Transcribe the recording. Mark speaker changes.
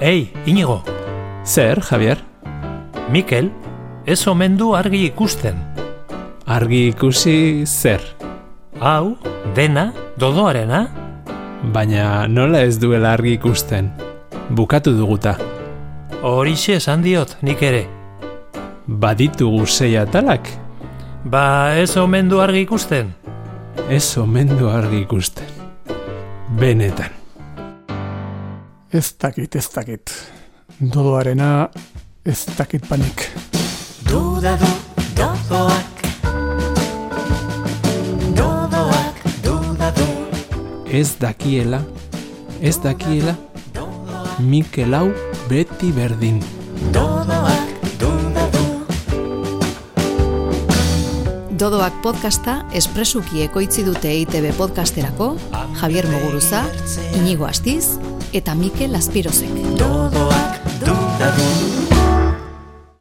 Speaker 1: Ei, inigo,
Speaker 2: Zer, Javier?
Speaker 1: Mikel, ez omen du argi ikusten.
Speaker 2: Argi ikusi zer.
Speaker 1: Hau, dena, dodoarena,
Speaker 2: Baina nola ez duela argi ikusten. Bukatu duguta.
Speaker 1: horixe esan diot nik ere.
Speaker 2: Baditugu sei atalak.
Speaker 1: Ba, ez omen du argi ikusten.
Speaker 2: Ez omen du argi ikusten. Benetan.
Speaker 3: Ez dakit, ez dakit. Dodoarena ez dakit panik.
Speaker 4: Dudadu, dodoak Dodoak, dudadu
Speaker 2: Ez dakiela. Ez dakiela. Mikel hau beti berdin.
Speaker 4: Dodoak, dudadu
Speaker 5: Dodoak podcasta espresuki ekoitzi dute E EITB podcasterako Javier Muguruza, Inigo Astiz eta Mikel Azpirozek.
Speaker 4: Dodoak,